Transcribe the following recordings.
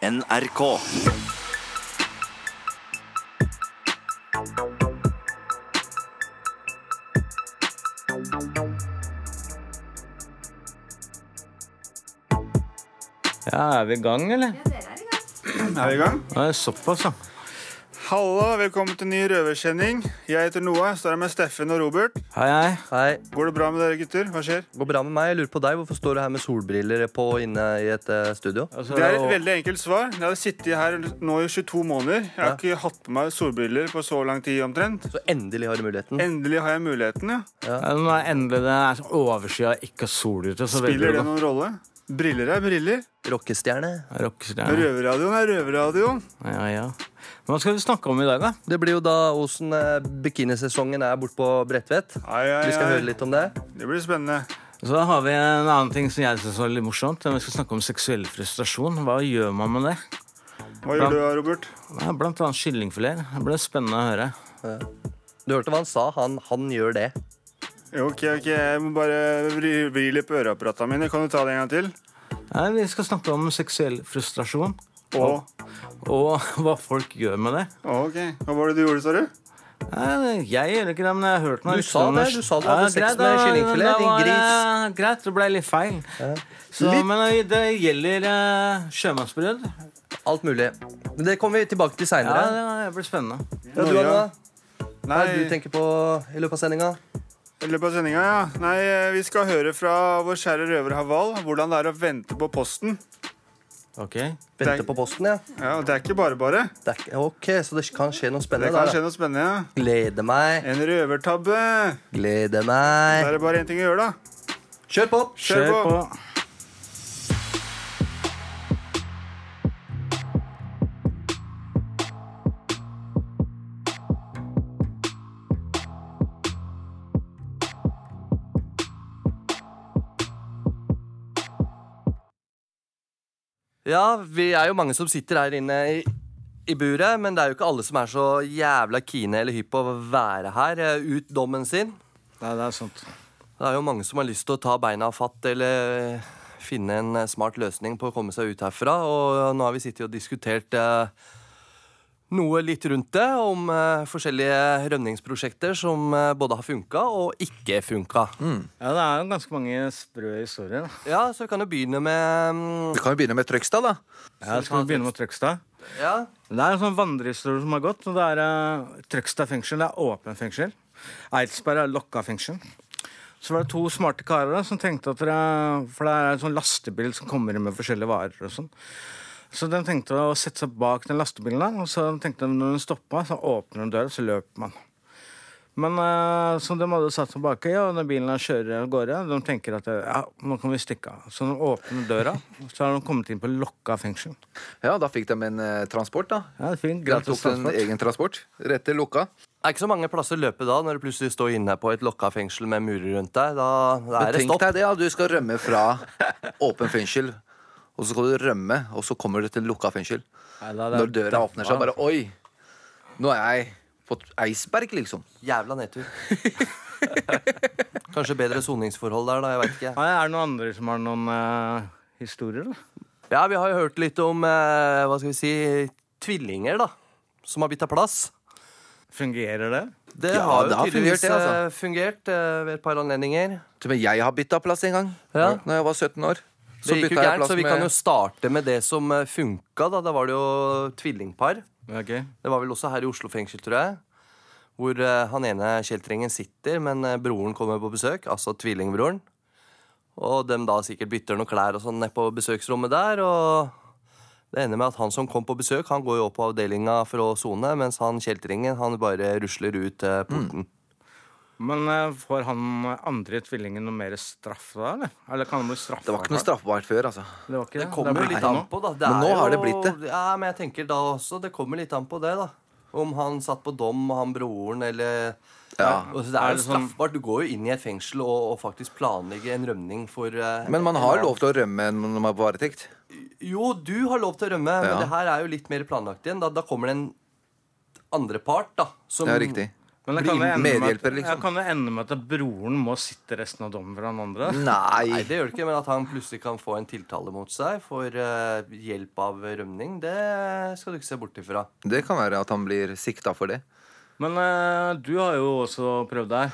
NRK. Ja, er vi i gang, eller? Er vi i gang? Ja, det er såpass, ja. Hallo, velkommen til ny røversending. Jeg heter Noah, står her med Steffen og Robert. Hei, hei. Hei, Går det bra med dere gutter? Hva skjer? går bra med meg? Jeg lurer på deg, Hvorfor står du her med solbriller på inne i et eh, studio? Altså, Det er et og- veldig enkelt svar. Jeg har sittet her nå i 22 måneder. Jeg har ikke hatt på meg solbriller på så lang tid omtrent. Så endelig har du muligheten. Endelig har jeg muligheten, ja. Ja, nå er endelig det er sånn overskya, ikke sol ute. Så Spiller det nå? noen rolle? Briller er briller. Rockestjerne. Mm. Rockestjerne. Røverradioen er røverradioen. Ja, ja. Hva skal vi snakke om i dag, da? Det blir jo da Osen eh, bikinisesongen er borte på Bredtvet. Ai, ai, Vi skal ai. høre litt om det. Det blir spennende. Så da har vi en annen ting som jeg synes var litt morsomt. Vi skal snakke om seksuell frustrasjon. Hva gjør man med det? Hva gjør du da, Robert? Ja, Blant annet kyllingfileter. Det blir spennende å høre. Eh, Du hørte hva han sa? Han, han gjør det. Ok, ok, jeg må bare vri, vri litt på øreapparatene mine. Kan du ta det en gang til? Ja, vi skal snakke om seksuell frustrasjon. Og, Og hva folk gjør med det. ok. Hva var det du gjorde, sa du? Nei, Jeg gjør ikke det, men jeg har hørt noe Du sa det, du sa du hadde sex med kyllingfilet, din gris. Greit, det ble litt feil. Så, Men det gjelder uh, sjømannsbrudd. Alt mulig. Men Det kommer vi tilbake til Ja, seinere. det blir spennende. Ja, du, Anna, hva Nei. er det du tenker på i løpet av sendinga? I løpet av sendinga, ja. Nei, eh, vi skal høre fra vår kjære røver Haval hvordan det er å vente på posten. Ok. Det- Vente på posten, ja. Ja, og Det er ikke bare bare. Det er, ikke- ok, Så det kan skje noe Det spennende der. kan da. skje noe spennende. ja. Gleder meg, En røvertabbe. gleder Da meg. er det bare én ting å gjøre, da. Kjør på! Kjør Kjør på. på. Ja, vi er jo mange som sitter her inne i, i buret, men det er jo ikke alle som er så jævla kine eller hypp på å være her eh, ut dommen sin. Nei, det er sant. Det er jo mange som har lyst til å ta beina fatt eller finne en eh, smart løsning på å komme seg ut herfra, og eh, nå har vi sittet og diskutert eh, noe litt rundt det, om eh, forskjellige rømningsprosjekter som eh, både har funka og ikke funka. Mm. Ja, det er jo ganske mange sprø historier. da. Ja, så vi kan jo begynne med mm, Du kan jo begynne med Trøgstad, da. Ja, skal vi begynne med Trøgstad? Ja, Det er en sånn vandrehistorie som har gått. og Det er eh, Trøgstad fengsel det er åpen fengsel. Eidsberg er lokka fengsel. Så var det to smarte karer da, som tenkte at dere, For det er en sånn lastebil som kommer inn med forskjellige varer og sånn. Så de tenkte å sette seg bak den lastebilen der. Og så tenkte de når den stoppa, så åpner de døra, så løper man. Men eh, så de hadde satt seg baki, og når bilen kjører av gårde, de tenker at eh, ja, nå kan vi stikke av. Så de åpner døra, så har de kommet inn på lokka fengsel. Ja, Da fikk de en eh, transport, da. Ja, det er fint. De tok Gratis en transport. egen transport rett til Lukka. Det er ikke så mange plasser å løpe da, når du plutselig står inne på et lokka fengsel med murer rundt deg. Da, da er det Tenk stopp. deg det, ja. Du skal rømme fra åpen fengsel, og så skal du rømme, og så kommer du til lukka fengsel. Nei, da, det er Når døra åpner seg, deppa. bare Oi! Nå er jeg på Eidsberg, liksom. Jævla nedtur. Kanskje bedre soningsforhold der, da. Jeg veit ikke. Nei, er det noen andre som har noen eh, historier, eller? Ja, vi har jo hørt litt om, eh, hva skal vi si, tvillinger, da. Som har bytta plass. Fungerer det? Det Ja, har jo det har fungert, tydeligvis det, altså. eh, fungert eh, ved et par anledninger. Til og med jeg har bytta plass en gang, Ja. Når jeg var 17 år. Det gikk jo bytta jeg gærent, så vi kan jo starte med det som eh, funka, da. Da var det jo tvillingpar. Ok. Det var vel også her i Oslo fengsel, tror jeg. Hvor eh, han ene kjeltringen sitter, men eh, broren kommer på besøk. Altså tvillingbroren. Og dem da sikkert bytter noen klær og sånn ned på besøksrommet der. Og det ender med at han som kom på besøk, han går jo opp på avdelinga for å sone, mens han kjeltringen, han bare rusler ut eh, porten. Men eh, får han andre tvillingen noe mer straff da, eller? Eller kan han bli straffa? Det var ikke noe straffbart før, altså. Det var ikke det. Det kommer ble jo litt ikke an noe. på, da. Det Men er nå har jo, det blitt det. Ja, men jeg tenker da også, det kommer litt an på det, da. Om han satt på dom, og han broren, eller Ja. Altså, Det er det jo sånn- straffbart. Du går jo inn i et fengsel og, og faktisk planlegger en rømning for eh, Men man en har annen- lov til å rømme når man er på varetekt. Jo, du har lov til å rømme, Ja. men det her er jo litt mer planlagt igjen. Da, da kommer det en andre part, da. Som Det er riktig. Men det Bli kan jo ende med at- medhjelper, liksom. ja, kan det ende med at broren må sitte resten av dommen for han andre? Nei. Nei, det gjør det ikke, men at han plutselig kan få en tiltale mot seg for eh, hjelp av rømning, det skal du ikke se bort ifra. Det kan være at han blir sikta for det. Men eh, du har jo også prøvd det her.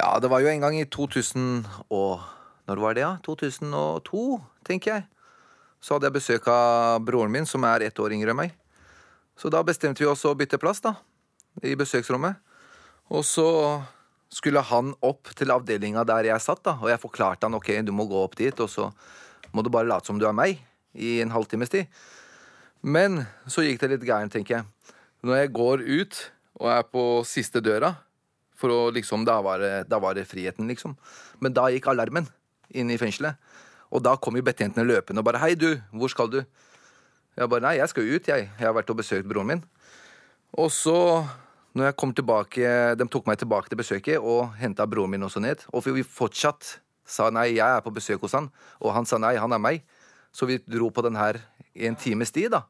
Ja, det var jo en gang i 2000 og Når var det, ja? 2002, tenker jeg. Så hadde jeg besøk av broren min, som er ett år yngre enn meg. Så da bestemte vi oss å bytte plass, da. I besøksrommet. Og så skulle han opp til avdelinga der jeg satt, da. Og jeg forklarte han ok, du må gå opp dit, og så må du bare late som du er meg i en halvtimes tid. Men så gikk det litt gærent, tenker jeg. Når jeg går ut og er på siste døra, for å liksom Da var det, da var det friheten, liksom. Men da gikk alarmen inn i fengselet. Og da kom jo betjentene løpende og bare 'Hei, du, hvor skal du?' Jeg bare 'Nei, jeg skal ut, jeg. Jeg har vært og besøkt broren min'. Og så, når jeg kom tilbake De tok meg tilbake til besøket og henta broren min også ned. Og vi fortsatt sa 'Nei, jeg er på besøk hos han', og han sa 'Nei, han er meg'. Så vi dro på den her i en times tid, da.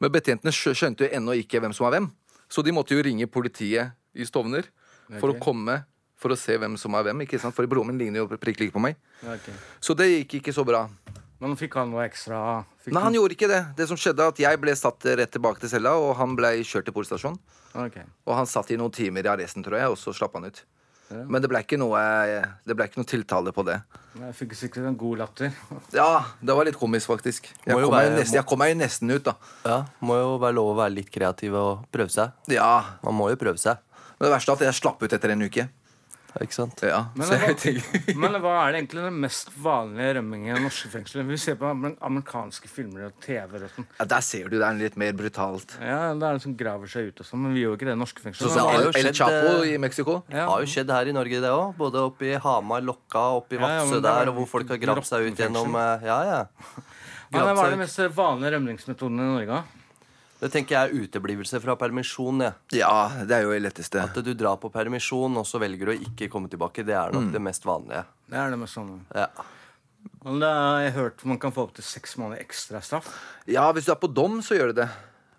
Men betjentene skjø- skjønte jo ennå ikke hvem som var hvem. Så de måtte jo ringe politiet i Stovner for å komme for å se hvem som er hvem. ikke sant? For broren min ligner jo prikk lik på meg. Ja, ok. Så det gikk ikke så bra. Men fikk han noe ekstra? Fikk Nei, han gjorde ikke det. Det som skjedde, er at jeg ble satt rett tilbake til cella, og han ble kjørt til politistasjonen. Ok. Og han satt i noen timer i arresten, tror jeg, og så slapp han ut. Men det ble ikke noe, det ble ikke noe tiltale på det. Men Jeg fikk sikkert en god latter. Ja, det var litt komisk, faktisk. Jeg Må jo kom, meg være- nesten, jeg kom meg jo nesten ut, da. Ja, Må jo være lov å være litt kreativ og prøve seg. Ja, Man må jo prøve seg. Men det verste er at jeg slapp ut etter en uke. Ikke sant? Ja, Men så det jeg var- tenker Men hva er det egentlig den mest vanlige rømmingen i norske fengsler? Vi ser på amer- amerikanske filmer og TV. og sånn. ja, Der ser du det er litt mer brutalt. Ja, det er det som graver seg ut og sånn, men vi gjør jo ikke det i norske fengsler. Så det er Sånn El, jo El skjedd, Chapo eh, i Mexico. Det har jo skjedd her i Norge, det òg. Både oppe i Hamar, Lokka, oppe i Ja, ja, Vadsø men det er der, og hvor folk har gravd seg ut rottenfengsel. gjennom eh, Ja, ja. Men Gravd hva er seg ut. de mest vanlige rømningsmetodene i Norge? da? Det tenker jeg er uteblivelse fra permisjon. Ja. Ja, det er jo det letteste. At du drar på permisjon, og så velger du å ikke komme tilbake. Det er nok Mm. det mest vanlige. Det er det mest vanlige. Ja. Men det er, jeg har hørt man kan få opptil seks måneder ekstra straff. Ja, hvis du er på dom, så gjør du det.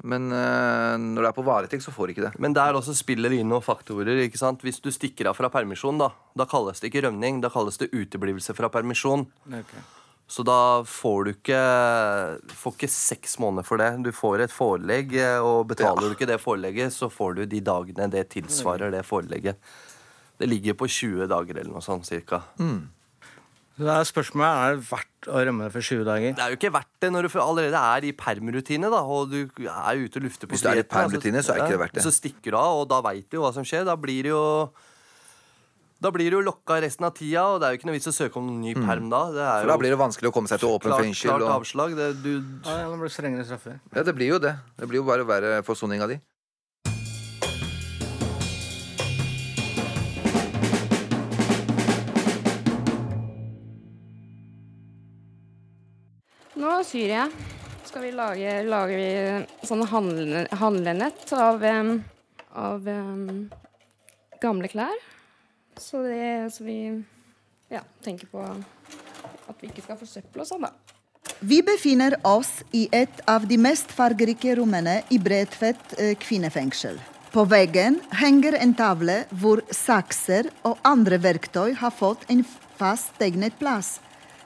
Men eh, når du er på varetekt, så får du ikke det. Men der også spiller det inn noen faktorer. ikke sant? Hvis du stikker av fra permisjon, da, da kalles det ikke rømning. Da kalles det uteblivelse fra permisjon. Ok. Så da får du ikke, får ikke seks måneder for det. Du får et forelegg, eh, og betaler du ikke det forelegget, så får du de dagene det tilsvarer det forelegget. Det ligger på 20 dager eller noe sånt cirka. Mm. Så da er spørsmålet er det verdt å rømme for 20 dager. Det er jo ikke verdt det når du allerede er i permrutine, da, og du er ute og lufter på Hvis du er i friheten, altså. permrutine, så er ikke det Ja, verdt det. Så stikker du av, og da veit du jo hva som skjer. Da blir det jo da blir du jo lokka resten av tida, og det er jo ikke noe vits å søke om ny perm da. Det er Mm. jo For da blir det vanskelig å komme seg til åpen klart, fengsel. klart Og... avslag. Det, du, Ja, ja, det blir strengere straffer. Ja, det blir jo det. Det blir jo bare verre for soninga di. Nå syr jeg. Skal vi lage, lager vi eh, sånne handle, handlenett av, em, av em, gamle klær. Så, det, så vi ja, tenker på at vi ikke skal forsøple og sånn, da. Vi befinner oss i et av de mest fargerike rommene i Bredtvet eh, kvinnefengsel. På veggen henger en tavle hvor sakser og andre verktøy har fått en fast tegnet plass,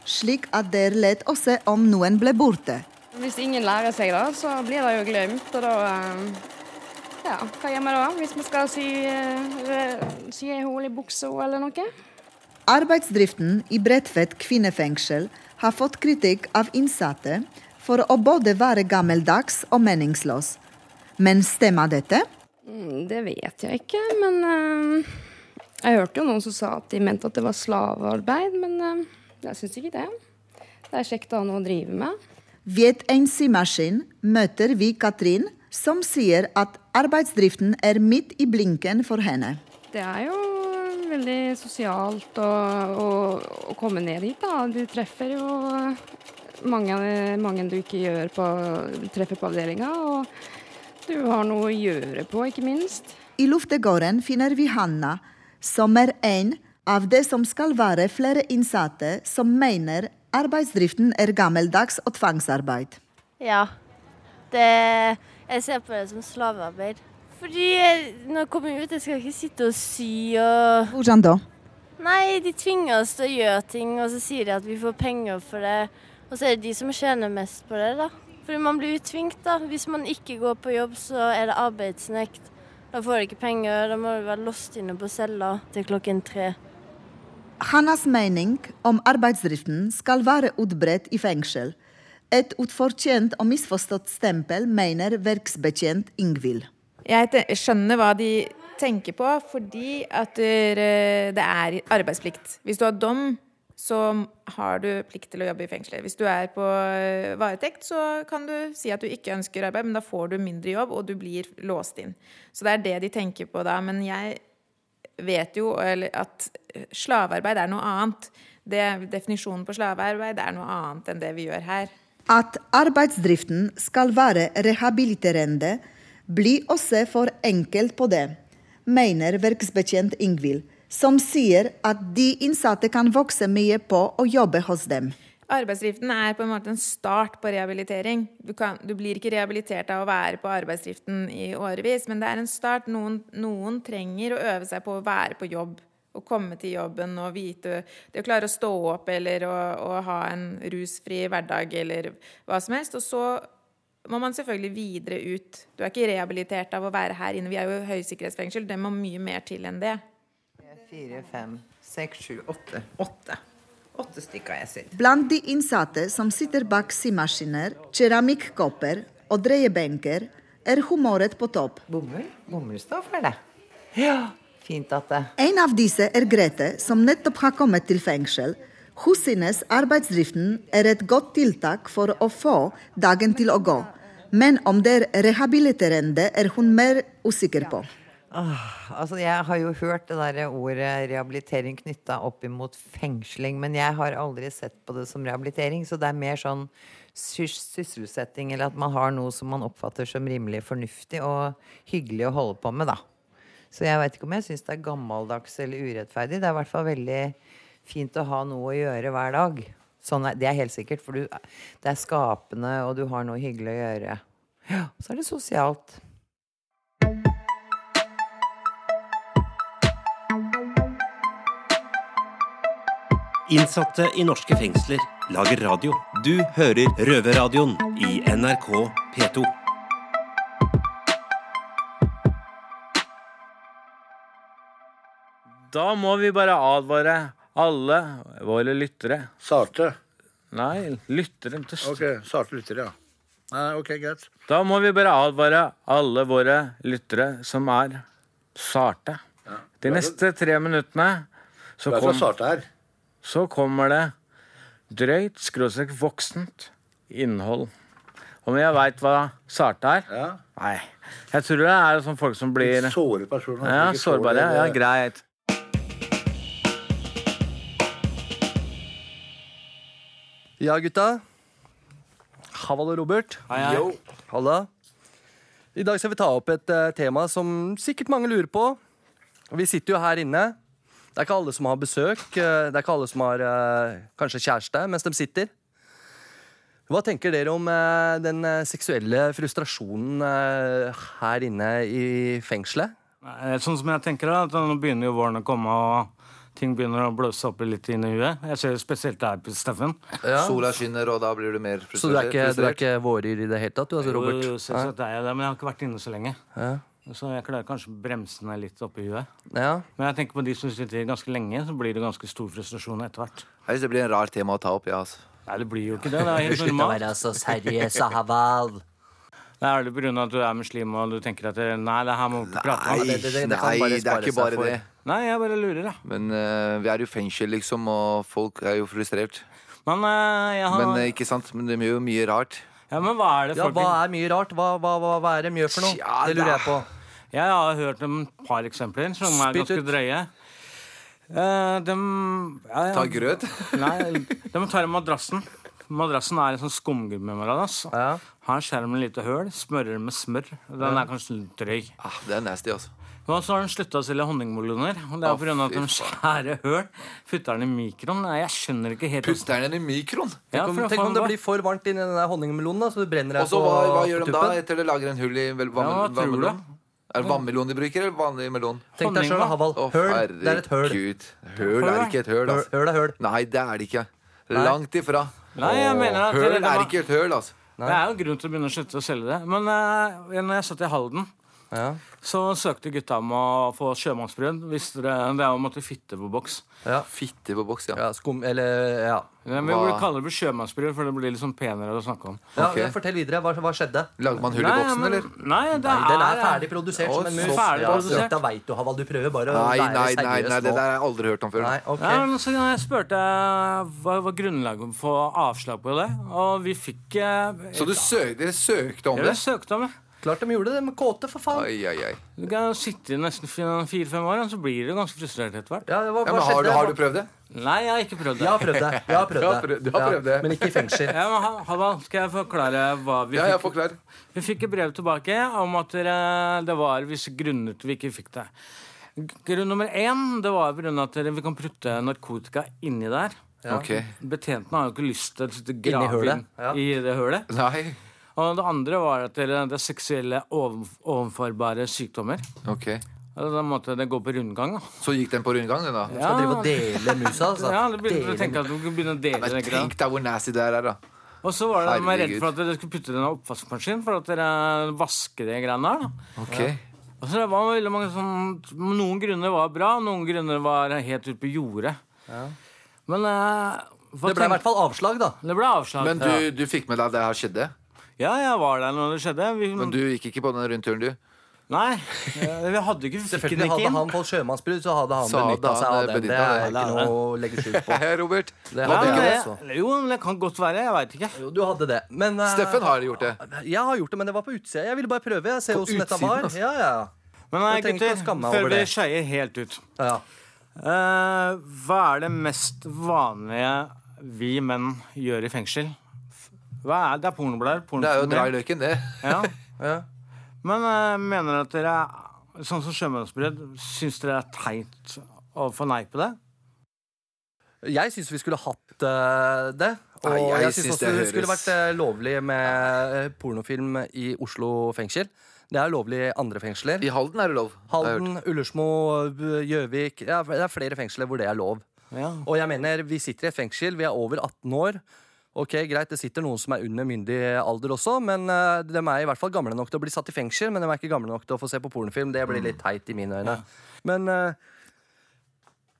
slik at det er lett å se om noen ble borte. Hvis ingen lærer seg det, så blir det jo glemt, og da em, Ja, hva gjør vi da? Hvis vi skal sy, eh, sy ei hull i buksa eller noe? Arbeidsdriften i Bredtvet kvinnefengsel har fått kritikk av innsatte for å både være gammeldags og meningsløs. Men stemmer dette? Mm, Det vet jeg ikke, men eh, Jeg hørte jo noen som sa at de mente at det var slavearbeid, men eh, jeg syns ikke det. Det er kjekt å ha noe å drive med. Ved en symaskin møter vi Katrin, som sier at arbeidsdriften er midt i blinken for henne. Det er jo eh, veldig sosialt å, å, å komme ned hit, da. Du treffer jo mange, mange du ikke gjør på, treffer på avdelinga, og du har noe å gjøre på, ikke minst. I luftegården finner vi Hanna, som er en av det som skal være flere innsatte som mener arbeidsdriften er gammeldags og tvangsarbeid. Ja. Det, jeg ser på det som slavearbeid. Fordi eh, når jeg kommer ut, jeg skal ikke sitte og sy og Hvordan da? Nei, de tvinger oss til å gjøre ting, og så sier de at vi får penger for det. Og så er det de som tjener mest på det, da. Fordi man blir jo tvingt, da. Hvis man ikke går på jobb, så er det arbeidsnekt. Da får du ikke penger, da må du være låst inne på cella til klokken tre. Hannas mening om arbeidsdriften skal være utbredt i fengsel. Et utfortjent og misforstått stempel mener verksbetjent Ingvild. Jeg te- skjønner hva de tenker på, fordi at eh, det er arbeidsplikt. Hvis du har dom, så har du plikt til å jobbe i fengselet. Hvis du er på eh, varetekt, så kan du si at du ikke ønsker arbeid, men da får du mindre jobb, og du blir låst inn. Så det er det de tenker på da. Men jeg vet jo eller, at slavearbeid er noe annet. Det, definisjonen på slavearbeid er noe annet enn det vi gjør her. At arbeidsdriften skal være rehabiliterende, blir også for enkelt på det, mener verksbetjent Ingvild, som sier at de innsatte kan vokse mye på å jobbe hos dem. Arbeidsdriften er på en måte en start på rehabilitering. Du, kan, du blir ikke rehabilitert av å være på arbeidsdriften i årevis, men det er en start. Noen, noen trenger å øve seg på å være på jobb. Å komme til jobben og vite Det å klare å stå opp eller å, å ha en rusfri hverdag eller hva som helst. Og så må man selvfølgelig videre ut. Du er ikke rehabilitert av å være her inne. Vi er jo i høysikkerhetsfengsel. Det må mye mer til enn det. Fire, fem, seks, sju, åtte. Åtte. Åtte stykker har jeg sett. Blant de innsatte som sitter bak symaskiner, keramikkopper og dreiebenker, er humøret på topp. Bomull? Bomull står for det. Ja. Fint at det En av disse er Grete, som nettopp har kommet til fengsel. Hun synes arbeidsdriften er et godt tiltak for å få dagen til å gå. Men om det er rehabiliterende, er hun mer usikker på. Åh, Altså, jeg har jo hørt det derre ordet rehabilitering knytta opp imot fengsling, men jeg har aldri sett på det som rehabilitering, så det er mer sånn sys sysselsetting, eller at man har noe som man oppfatter som rimelig fornuftig og hyggelig å holde på med, da. Så jeg veit ikke om jeg syns det er gammeldags eller urettferdig. Det er i hvert fall veldig fint å ha noe å gjøre hver dag. Sånn er, det er helt sikkert, for du, det er skapende, og du har noe hyggelig å gjøre. Ja, så er det sosialt. Innsatte i norske fengsler lager radio. Du hører Røverradioen i NRK P2. Da må vi bare advare alle våre lyttere. Sarte. Nei, lyttere til st- Ok, sarte lyttere, ja. Nei, nei, ok, greit. Da må vi bare advare alle våre lyttere som er sarte. De neste tre minuttene så, Du er fra kom, Sarte her. så kommer det drøyt, skråstrek voksent innhold. Om jeg veit hva sarte er? Ja. Nei. Jeg tror det er sånn folk som blir Litt såre personer. som ja, ikke får sårbare. det- Ja, greit. Ja, gutta. Haval og Robert. Yo. Halla. I dag skal vi ta opp et eh, tema som sikkert mange lurer på. Vi sitter jo her inne. Det er ikke alle som har besøk. eh, Det er ikke alle som har eh, kanskje kjæreste mens de sitter. Hva tenker dere om eh, den eh, seksuelle frustrasjonen eh, her inne i fengselet? Nei, Sånn som jeg tenker da, at Nå begynner jo våren å komme, og ting begynner å blåse opp litt inn i huet. Jeg ser jo spesielt deg, Steffen. Sola skinner, og da blir du mer frustrert. Så du er ikke, du er frustrert. ikke våryr i det hele tatt, du altså, Robert? Jo, jo, så, så det er jo det, men jeg har ikke vært inne så lenge. Ja. Så jeg klarer kanskje å bremse ned litt oppi huet. Ja. Men jeg tenker på de som sitter ganske lenge, så blir det ganske stor frustrasjon etter hvert. Jeg synes det blir en rar tema å ta opp, ja. Altså. Nei, det blir jo ikke det. Det er helt normalt. så seriøs, Haval. Det er vel pga. at du er muslim og du tenker at det- Nei, det her må vi ikke prate om. Nei, det- det- det kan nei, bare det er spare ikke seg bare for. det. Nei, jeg bare lurer, da. Men eh, vi er jo fengsel, liksom, og folk er jo frustrert. Men, eh, jeg har, Men eh, ikke sant, men det gjør jo mye rart. ja, men hva er det Ja, folk hva er mye rart? Hva, hva, hva, hva er det mye for noe? Tja, det lurer da. jeg på. Jeg har hørt om et par eksempler som er Spytt ganske ut. drøye. Eh, de ja, ja. Ta grøt. Nei, de tar i madrassen. Madrassen er en sånn skumgummimadrass. altså. Ja. Har en skjerm med lite høl, smører den med smør. Den er kanskje litt drøy. Ah, det er nasty, altså. Og så har de slutta å selge honningmeloner. Og det er pga. at de skjærer høl. Putter den i mikroen. Nei, Jeg skjønner ikke helt hvordan- Putter den i mikroen. Ja, Kom, for tenk om faen, det hva- blir for varmt inni den der honningmelonen, da, så du brenner Og deg så på, hva, hva gjør på de da? tuppen. Etter det lager en hull i vel, hva, Ja, hva hva tror du? melon? Er det vannmelon de bruker, eller vanlig melon? Tenk deg sjøl, Haval. Å, Høl. Det er et høl. herregud. Høl er ikke et høl, altså. Høl er høl. Nei, det er det ikke. Langt ifra. Nei, jeg mener at Høl det- det er var- ikke et høl, altså. Det er jo grunn til å begynne å slutte å selge det. Men eh, når jeg satt i Halden, Ja. så søkte gutta om å få sjømannsbrød. Visste dere det er om at du fitte på boks? Ja. Fitte på boks, ja. ja. Skum... Eller ja. Men vi Hva? kaller det for sjømannsbrød, for det blir litt sånn penere å snakke om. ja Ok. Fortell videre. Hva, hva skjedde? Lagde man hull i boksen, men- øh, eller? Nei, det Nei, den er er ferdig produsert som en Å, mus. ferdig Ja, produsert. Da veit du, Haval. Du prøver bare å Nei, være nei, nei, seriøs nei, det nå. der har jeg aldri hørt om før. Nei, ok. Ja, men så jeg spurte hva var grunnlaget for å få avslag på det, og vi fikk eh, Så du søk, dere søkte om Ja, det? vi søkte om det. Klart de gjorde det. De er kåte, for faen. Ai, ai, ai. Du kan jo sitte i nesten fi- fire-fem år, og så blir du ganske frustrert etter hvert. Ja, hva, Ja, hva men har, du, skjedde? har du prøvd det? Nei, jeg har ikke prøvd det. Jeg har prøvd det. Jeg har Du har prøvd det. prøvd- du har prøvd det. Ja, men ikke i fengsel. Ja, men ha- Halvard, skal jeg forklare hva vi Ja, jeg fikk? forklarer. Vi fikk et brev tilbake om at dere, det var visse grunner til vi ikke fikk det. Grunn nummer én det var på grunn av at dere, vi kan putte narkotika inni der. Ok. Betjentene har jo ikke lyst til å sitte og Inni grave hølet, inn ja. i det hølet. Nei. Og det andre var at dere, det er seksuelle oven- overførbare sykdommer. Ok. Altså, Da måtte det gå på rundgang. da. Så gikk den på rundgang, den da? Skal drive og dele musa, altså. Ja, du begynte å Dele tenke at du kunne begynne å dele Men det. ikke sant? tenk deg hvor nasty det her er, da. Og så var det de var redd Herregud. for at dere skulle putte det i en oppvaskmaskin for at dere vasker de greiene der. da. Ok. Og så Altså, det var veldig mange sånn, Noen grunner var bra, noen grunner var helt ute på jordet. Men eh, hva Det ble i tenk- hvert fall avslag, da. det ble avslag. Men du, du fikk med deg at det her skjedde? Ja, jeg var der når det skjedde. Vi, Men du gikk ikke på den rundturen, du? Nei, eh, vi hadde ikke, vi fikk den Selvfølgelig ikke hadde inn. han fått sjømannsbrudd, så hadde han Så hadde benytta seg han, av den. Det er benyttet det. ikke noe å legge skjul på. Hei, Robert. Det Ja, hadde men ikke jeg det- også. jo, men det kan godt være. Jeg veit ikke. Jo, du hadde det. Men eh, Steffen har gjort det. Jeg har gjort det, men det var på utsida. Jeg ville bare prøve. Jeg ser På hvordan dette utsiden, var. altså. Ja, ja. Men nei, Jeg trenger ikke å gutter, skamme meg før over vi det. skeier helt ut ja. Eh, Hva er det mest vanlige vi menn gjør i fengsel? Hva er, det er pornoblader. Det er jo å pornofilmer. dra i løken, det. Ja. Men eh, mener dere at dere Sånn som sjømannsbrød, syns dere det er teit å forneipe det? Jeg syns vi skulle hatt eh, det. Og Nei, jeg jeg, synes syns også det det høres- skulle vært eh, lovlig med eh, pornofilm i Oslo fengsel. Det er lovlig i andre fengsler. I Halden er det lov. har jeg hørt. Halden, Ullersmo, eh, Gjøvik. Ja, det er flere fengsler hvor det er lov. Ja. Og jeg mener, vi sitter i et fengsel, vi er over 18 år. Ok, Greit, det sitter noen som er under myndig alder også, men eh, de er i hvert fall gamle nok til å bli satt i fengsel, men de er ikke gamle nok til å få se på pornofilm. Det Mm. blir litt teit i mine øyne. Men eh,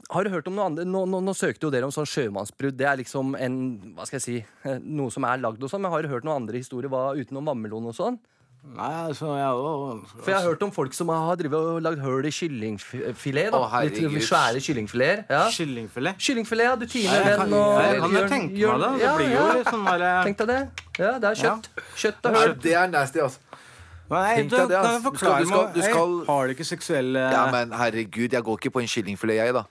har du hørt om noe annet? Nå, nå, nå søkte jo dere om sånn sjømannsbrudd. Det er liksom en, hva skal jeg si, eh, noe som er lagd og sånn, men har du hørt noen andre historier hva, utenom vannmelon og sånn? Nei, altså jeg, også, For jeg har hørt om folk som har drevet og lagd høl i kyllingfilet. da. Å, Litt herregud. svære kyllingfileter. Ja. Kyllingfilet. Kyllingfilet, ja. Du Jeg tiner kan, den eh, og jeg kan jo gjør- tenke gjør- meg det. Det Ja, blir jo ja. litt sånn der Tenk deg det. Ja, det er kjøtt. Kjøtt og Nei, høl. Det er nasty, altså. eh, Nei, Tenk du, deg det, kan jeg ass. Du skal- forklare du skal- meg du skal- Jeg Har du ikke seksuelle Ja, men herregud, jeg går ikke på en kyllingfilet, jeg, da.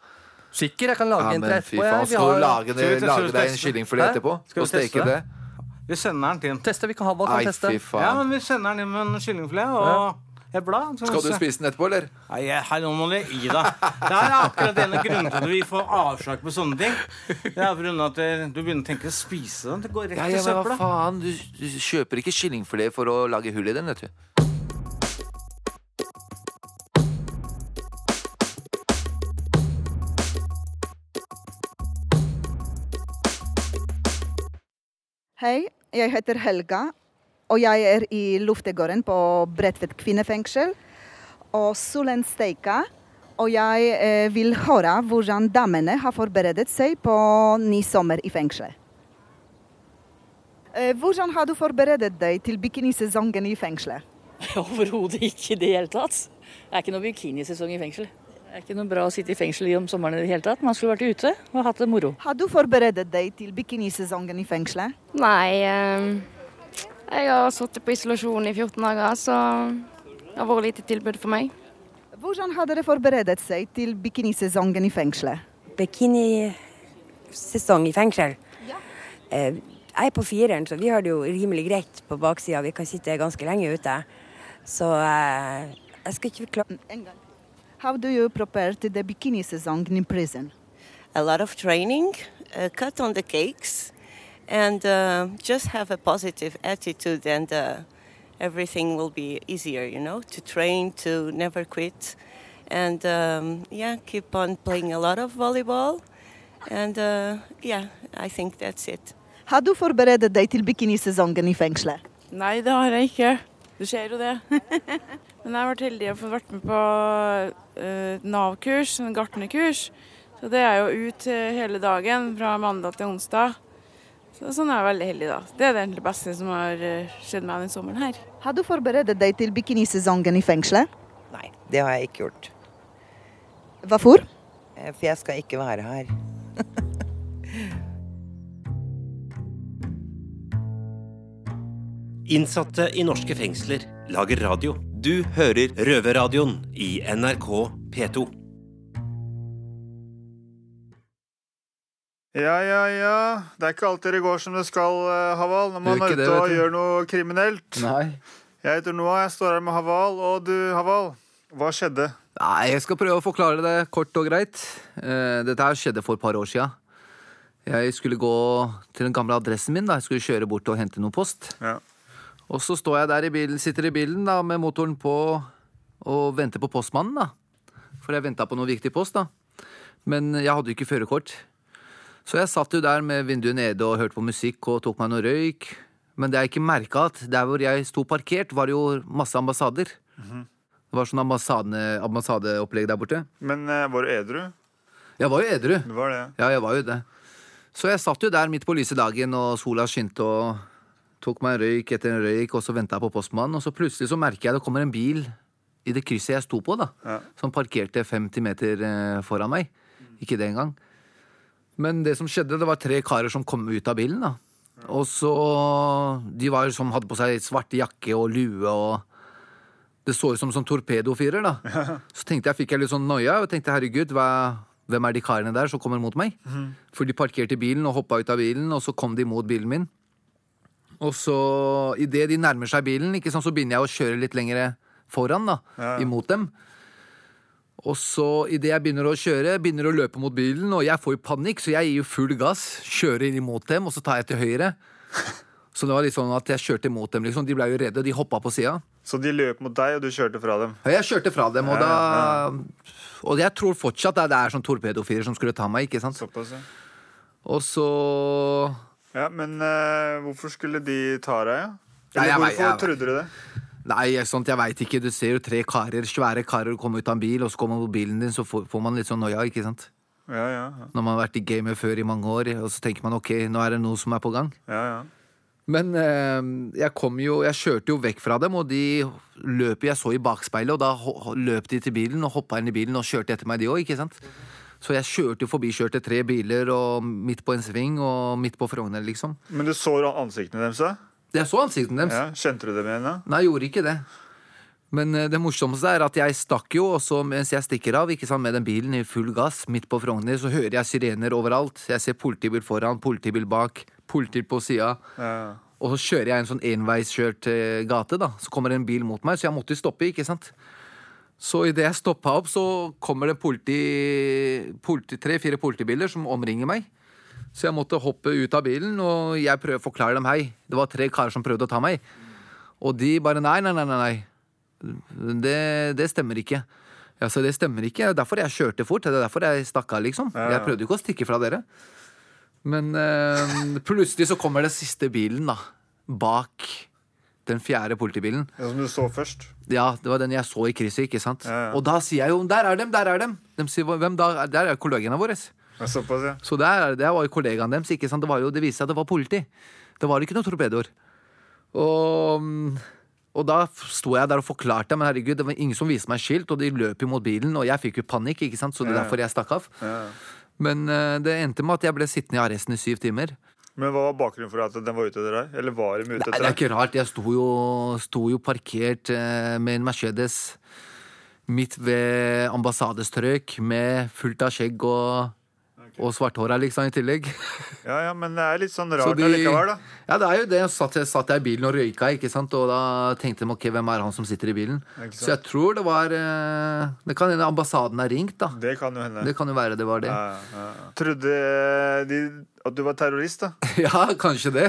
Sikker, jeg kan Ja, lage en men til etterpå. fy faen, Jeg. Vi Skal har du lage, Skal vi det, teste- lage deg en teste? kyllingfilet Hæ? etterpå? Skal vi Og steke teste det? det? Vi sender den til en teste, vi kan ha hva Nei, kan teste. fy Ja, men faen. vi sender den inn med en kyllingfilet og et blad. så Skal du se. spise den etterpå, eller? Nei, jeg- her nå må du gi deg. Det her er akkurat en av grunnene til at vi får avslag på sånne ting. Det er på grunn av at det- du begynner å tenke å spise den. Det går rett Ja, i ja, men hva søpla. faen? Du, du kjøper ikke kyllingfilet for å lage hull i den, vet du. Hei, jeg heter Helga, og jeg er i luftegården på Bredtvet kvinnefengsel. Og solen steiker, og jeg eh, vil høre hvordan damene har forberedt seg på ny sommer i fengselet. Eh, hvordan har du forberedt deg til bikinisesongen i fengselet? Overhodet ikke i det hele tatt. Det er ikke noe bikinisesong i fengsel. Det er ikke noe bra å sitte i fengsel i om sommeren i det hele tatt. Man skulle vært ute og hatt det moro. Har du forberedt deg til bikinisesongen i fengselet? Nei, eh, jeg har sittet på isolasjon i 14 dager, så det har vært lite tilbud for meg. Hvordan har dere forberedt seg til bikinisesongen i fengselet? Bikinisesong i fengsel? Eh, Jeg er på fireren, så vi har det jo rimelig greit på baksida. Vi kan sitte ganske lenge ute. Så eh, jeg skal ikke klare Mm, En gang. How do you prepare to the bikini season in prison? a lot of training, uh, cut on the cakes, and uh, just have a positive attitude and uh, everything will be easier, you know, to train, to never quit. And um, yeah, keep on playing a lot of volleyball. And uh, yeah, I think that's it. Har du forberedt deg til bikinisesongen i fengselet? Nei, det har jeg ikke. Du ser jo det. Men jeg har vært heldig og fått vært med på eh, Nav-kurs, en gartnerkurs. Så det er jo ut eh, hele dagen fra mandag til onsdag. Så sånn er jeg veldig heldig, da. Det er det egentlig beste som har eh, skjedd meg den sommeren her. Har du forberedt deg til bikinisesongen i fengselet? Det har jeg ikke gjort. Hvorfor? Eh, For jeg skal ikke være her. Innsatte i norske fengsler lager radio. Du hører Røverradioen i NRK P2. Ja, ja, ja. Det er ikke alltid det går som det skal, eh, Haval, når man Det er er ikke ute det, vet og du. gjør noe kriminelt. Nei. Jeg heter Noah, jeg står her med Haval. Og du, Haval, hva skjedde? Nei, jeg skal prøve å forklare det kort og greit. Eh, Dette her skjedde for et par år sia. Jeg skulle gå til den gamle adressen min. da Jeg skulle kjøre bort og hente noe post. Og så står jeg der i bilen, sitter i bilen da med motoren på og venter på postmannen. da For jeg venta på noe viktig post. da Men jeg hadde jo ikke førerkort. Så jeg satt jo der med vinduet nede og hørte på musikk og tok meg noe røyk. Men det jeg ikke merka, at der hvor jeg sto parkert, var det jo masse ambassader. Det var sånn ambassade, ambassadeopplegg der borte. Men eh, var du edru? Jeg var jo edru. Det var det. Ja, jeg var jo det. Så jeg satt jo der midt på lyse dagen, og sola skinte og tok meg en røyk etter en røyk, og så venta jeg på postmannen, og så plutselig så merker jeg det kommer en bil i det krysset jeg sto på, da. Som parkerte 50 meter eh, foran meg. Ikke det engang. Men det som skjedde, det var tre karer som kom ut av bilen, da. Og så De var jo som hadde på seg svart jakke og lue og Det så ut som sånn torpedofyrer, da. Så tenkte jeg, fikk jeg litt sånn noia og tenkte herregud, hva, hvem er de karene der som kommer mot meg? For de parkerte bilen og hoppa ut av bilen, og så kom de mot bilen min. Og så, idet de nærmer seg bilen, ikke sant, så begynner jeg å kjøre litt lenger foran, da, Ja, ja. imot dem. Og så, idet jeg begynner å kjøre, begynner å løpe mot bilen, og jeg får jo panikk, så jeg gir jo full gass, kjører inn imot dem, og så tar jeg til høyre. Så det var litt sånn at jeg kjørte imot dem, liksom. De ble jo redde, og de hoppa på sida. Så de løp mot deg, og du kjørte fra dem? Ja, Jeg kjørte fra dem, og Ja, da Og jeg tror fortsatt det er- det er sånn torpedofyrer som skulle ta meg, ikke sant? Såpass, ja. Og så Ja, men eh, hvorfor skulle de ta deg, ja? Nei, Eller jeg vet- hvorfor jeg vet. trodde du det? Nei, jeg- sånt, jeg veit ikke. Du ser jo tre karer, svære karer komme ut av en bil, og så kommer man på bilen din, så får, får man litt sånn noia, ikke sant? Ja, ja, ja. Når man har vært i gamet før i mange år, og så tenker man ok, nå er det noe som er på gang. ja, ja. Men eh, jeg kom jo Jeg kjørte jo vekk fra dem, og de løp jeg så i bakspeilet, og da ho- ho- løp de til bilen og hoppa inn i bilen og kjørte etter meg, de òg, ikke sant? Så jeg kjørte jo forbi, kjørte tre biler, og midt på en sving, og midt på Frogner, liksom. Men du så ansiktene deres, da? Jeg så ansiktene deres. Ja, kjente du dem igjen, da? Nei, jeg gjorde ikke det. Men eh, det morsomste er at jeg stakk jo, og så mens jeg stikker av ikke sant, med den bilen i full gass midt på Frogner, så hører jeg sirener overalt. Jeg ser politibil foran, politibil bak, politi på sida. Og så kjører jeg en sånn enveiskjørt eh, gate, da. Så kommer det en bil mot meg, så jeg måtte jo stoppe, ikke sant. Så idet jeg stoppa opp, så kommer det politi, politi, tre-fire politibiler som omringer meg. Så jeg måtte hoppe ut av bilen, og jeg prøver å forklare dem hei. Det var tre karer som prøvde å ta meg. Og de bare nei, nei, nei, nei. nei. Det, det stemmer ikke. Ja, så det stemmer ikke. Det er derfor jeg kjørte fort. Det er derfor jeg stakk av, liksom. Ja, ja. Jeg prøvde jo ikke å stikke fra dere. Men eh, plutselig så kommer den siste bilen, da. Bak den fjerde politibilen. Ja, Som du så først? Ja, det var den jeg så i krysset, ikke sant? Og da sier jeg jo 'der er dem, der er dem'. De sier, Hvem da? Der er kollegaene våre. Såpass, ja. Så der, der var jo kollegaen deres. ikke sant? Det, var jo, det viste seg at det var politi. Det var ikke noen torpedoer. Og, og da sto jeg der og forklarte, men herregud, det var ingen som viste meg skilt, og de løp jo mot bilen, og jeg fikk jo panikk, ikke sant? så det er Ja. derfor jeg stakk av. ja. Men eh, det endte med at jeg ble sittende i arresten i syv timer. Men hva var bakgrunnen for at den var ute etter deg? Eller var de ute Nei, etter det er deg? ikke rart. Jeg sto jo, sto jo parkert eh, med en Mercedes midt ved ambassadestrøk med fullt av skjegg og, og svarthåra, liksom, i tillegg. Ja, ja, men det er litt sånn Så rart de- allikevel, da. Ja, det er jo det. Så satt, jeg- satt jeg i bilen og røyka, ikke sant? og da tenkte de ok, hvem er han som sitter i bilen? Ikke sant? Så jeg tror det var eh, Det kan hende ambassaden er ringt, da. Det kan jo hende. Det kan jo være det var det. Ja, ja, ja. Trodde eh, de at du var terrorist, da? Ja, kanskje det.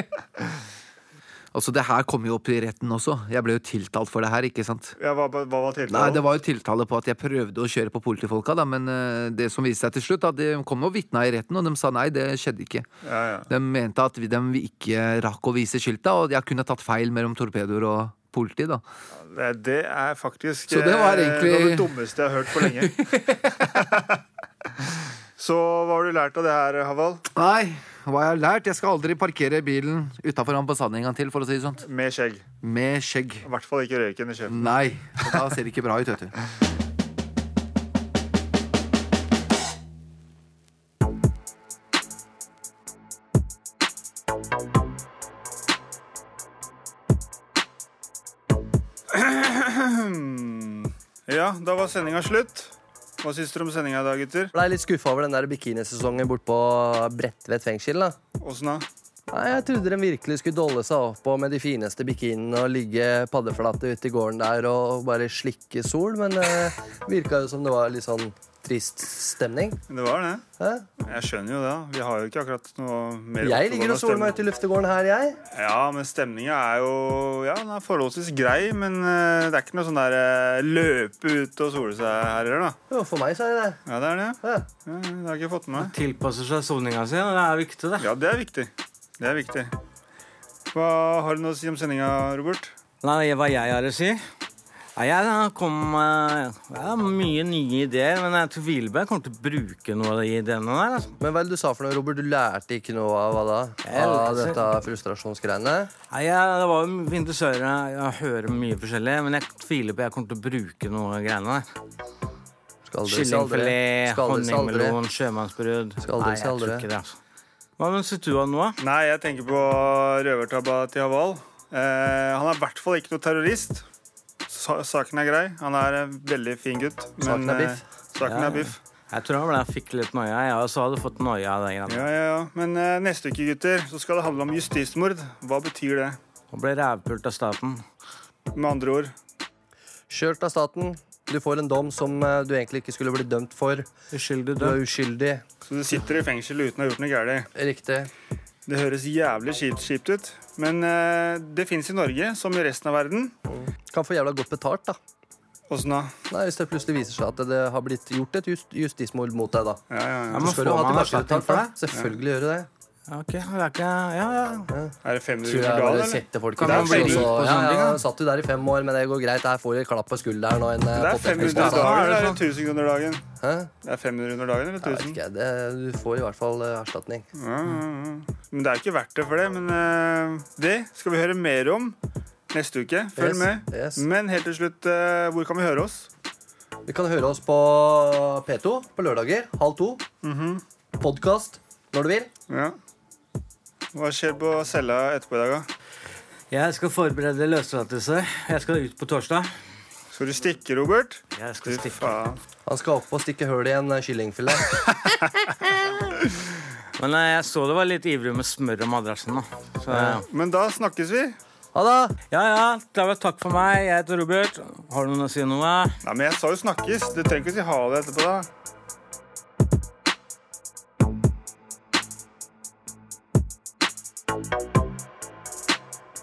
Altså, det her kom jo opp i retten også. Jeg ble jo tiltalt for det her, ikke sant? Ja, hva, hva var tiltalen? Nei, det var jo tiltale på at jeg prøvde å kjøre på politifolka, da, men eh, det som viste seg til slutt, da, de kom og vitna i retten, og de sa nei, det skjedde ikke. ja, ja. De mente at vi- de ikke rakk å vise skilta, og jeg kunne tatt feil mellom torpedoer og politi, da. Det, det er faktisk Så det var eh, noe av egentlig- det dummeste jeg har hørt på lenge. Så hva har du lært av det her, Haval? Nei, hva jeg har lært? Jeg skal aldri parkere bilen utafor ambassade en gang til, for å si det sånn. Med skjegg. Med skjegg. I hvert fall ikke røyken i kjeften. Nei, for da ser det ikke bra ut, vet du. Ja, da var sendinga slutt. Hva syns dere om sendinga i dag, gutter? Blei litt skuffa over den der bikinisesongen bortpå Bredtvet fengsel. da Åssen da? Nei, Jeg trodde de virkelig skulle dolle seg opp på med de fineste bikinene og ligge paddeflate ute i gården der og bare slikke sol, men det virka jo som det var litt sånn trist stemning. Det var det. Jeg skjønner jo det. da. Vi har jo ikke akkurat noe mer Jeg ligger og soler meg ute i luftegården her, jeg. Ja, men stemninga er jo Ja, den er forholdsvis grei, men eh, det er ikke noe sånn der eh, løpe ut og sole seg her heller, da. Jo, for meg så er det det. Ja, det er det. Ja, det har jeg ikke fått med meg. Tilpasser seg soninga si, og det er viktig, det. Ja, det er viktig. Det er viktig. Hva har du noe å si om sendinga, Robert? Nei, hva jeg har å si? Nei, jeg da kom med jeg har mye nye ideer, men jeg tror Hvilberg kommer til å bruke noe av de ideene der. altså. Men hva er det du sa for noe, Robert? Du lærte ikke noe av hva da? Jeg Av lærte- dette frustrasjonsgreiene? Nei, jeg, Det var jo vindusører, jeg, jeg hører mye forskjellig, men jeg tviler på jeg kommer til å bruke noe av greiene der. Skal aldri si aldri. Kyllingfilet, Skal aldri si aldri. honningmelon, sjømannsbrudd. aldri Nei, si jeg tror aldri. ikke det. altså. Hva syns du om noe? Nei, jeg tenker på røvertabba til Haval. Eh, han er i hvert fall ikke noe terrorist. Sa saken er grei. Han er en veldig fin gutt. Saken er eh, biff. saken Ja. er biff. Jeg tror han ble- fikk litt noia. Jeg også hadde fått noia av de greiene. Ja, ja, ja. Men eh, neste uke, gutter, så skal det handle om justismord. Hva betyr det? Og ble rævpult av staten. Med andre ord. Kjørt av staten. Du får en dom som eh, du egentlig ikke skulle bli dømt for. Uskyldig Du er uskyldig. Så du sitter i fengsel uten å ha gjort noe galt. Riktig. Det høres jævlig kjipt, kjipt ut, men eh, det fins i Norge, som i resten av verden. Kan få jævla godt betalt, da. Åssen da? Nei, Hvis det plutselig viser seg at det har blitt gjort et just, justismord mot deg, da. ja. Så skal Men du får ha man tilbake erstatning betalt for for det? det. Selvfølgelig gjør du det. Ja, Ok, det er ikke Ja, ja. Er det 500 Tror jeg bare setter folk i Kan man bli fengsel, og lurt så- på ja, sånne ting? ja, da? Satt du der i fem år, men det går greit. Her får du et klapp på skulderen og en eh, Det er pott i fengsel, 500 under dagen, da. eller er det sånn. 1000 kroner dagen? Hæ? Det er 500 under dagen, eller Jeg vet 1000? ikke. Det, du får i hvert fall eh, erstatning. Ja, ja, ja. Men det er ikke verdt det for det. Men eh, det skal vi høre mer om neste uke. Følg Yes, med. yes. Men helt til slutt, eh, hvor kan vi høre oss? Vi kan høre oss på P2 på lørdager halv to. Podkast når du vil. Ja. Hva skjer på cella etterpå i dag, da? Jeg skal forberede løslatelse. Jeg skal ut på torsdag. Skal du stikke, Robert? Jeg skal Fy faen. Han skal opp og stikke hull i en eh, kyllingfilet. Men eh, jeg så det var litt ivrig med smør og madrassen. da. Så, eh, ja. Men da snakkes vi. Ha det! ja, ja. Det var takk for meg. Jeg heter Robert. Har du noe å si noe? Nei, men jeg sa jo snakkes. Du trenger ikke å si ha det etterpå, da.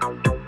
Thank you.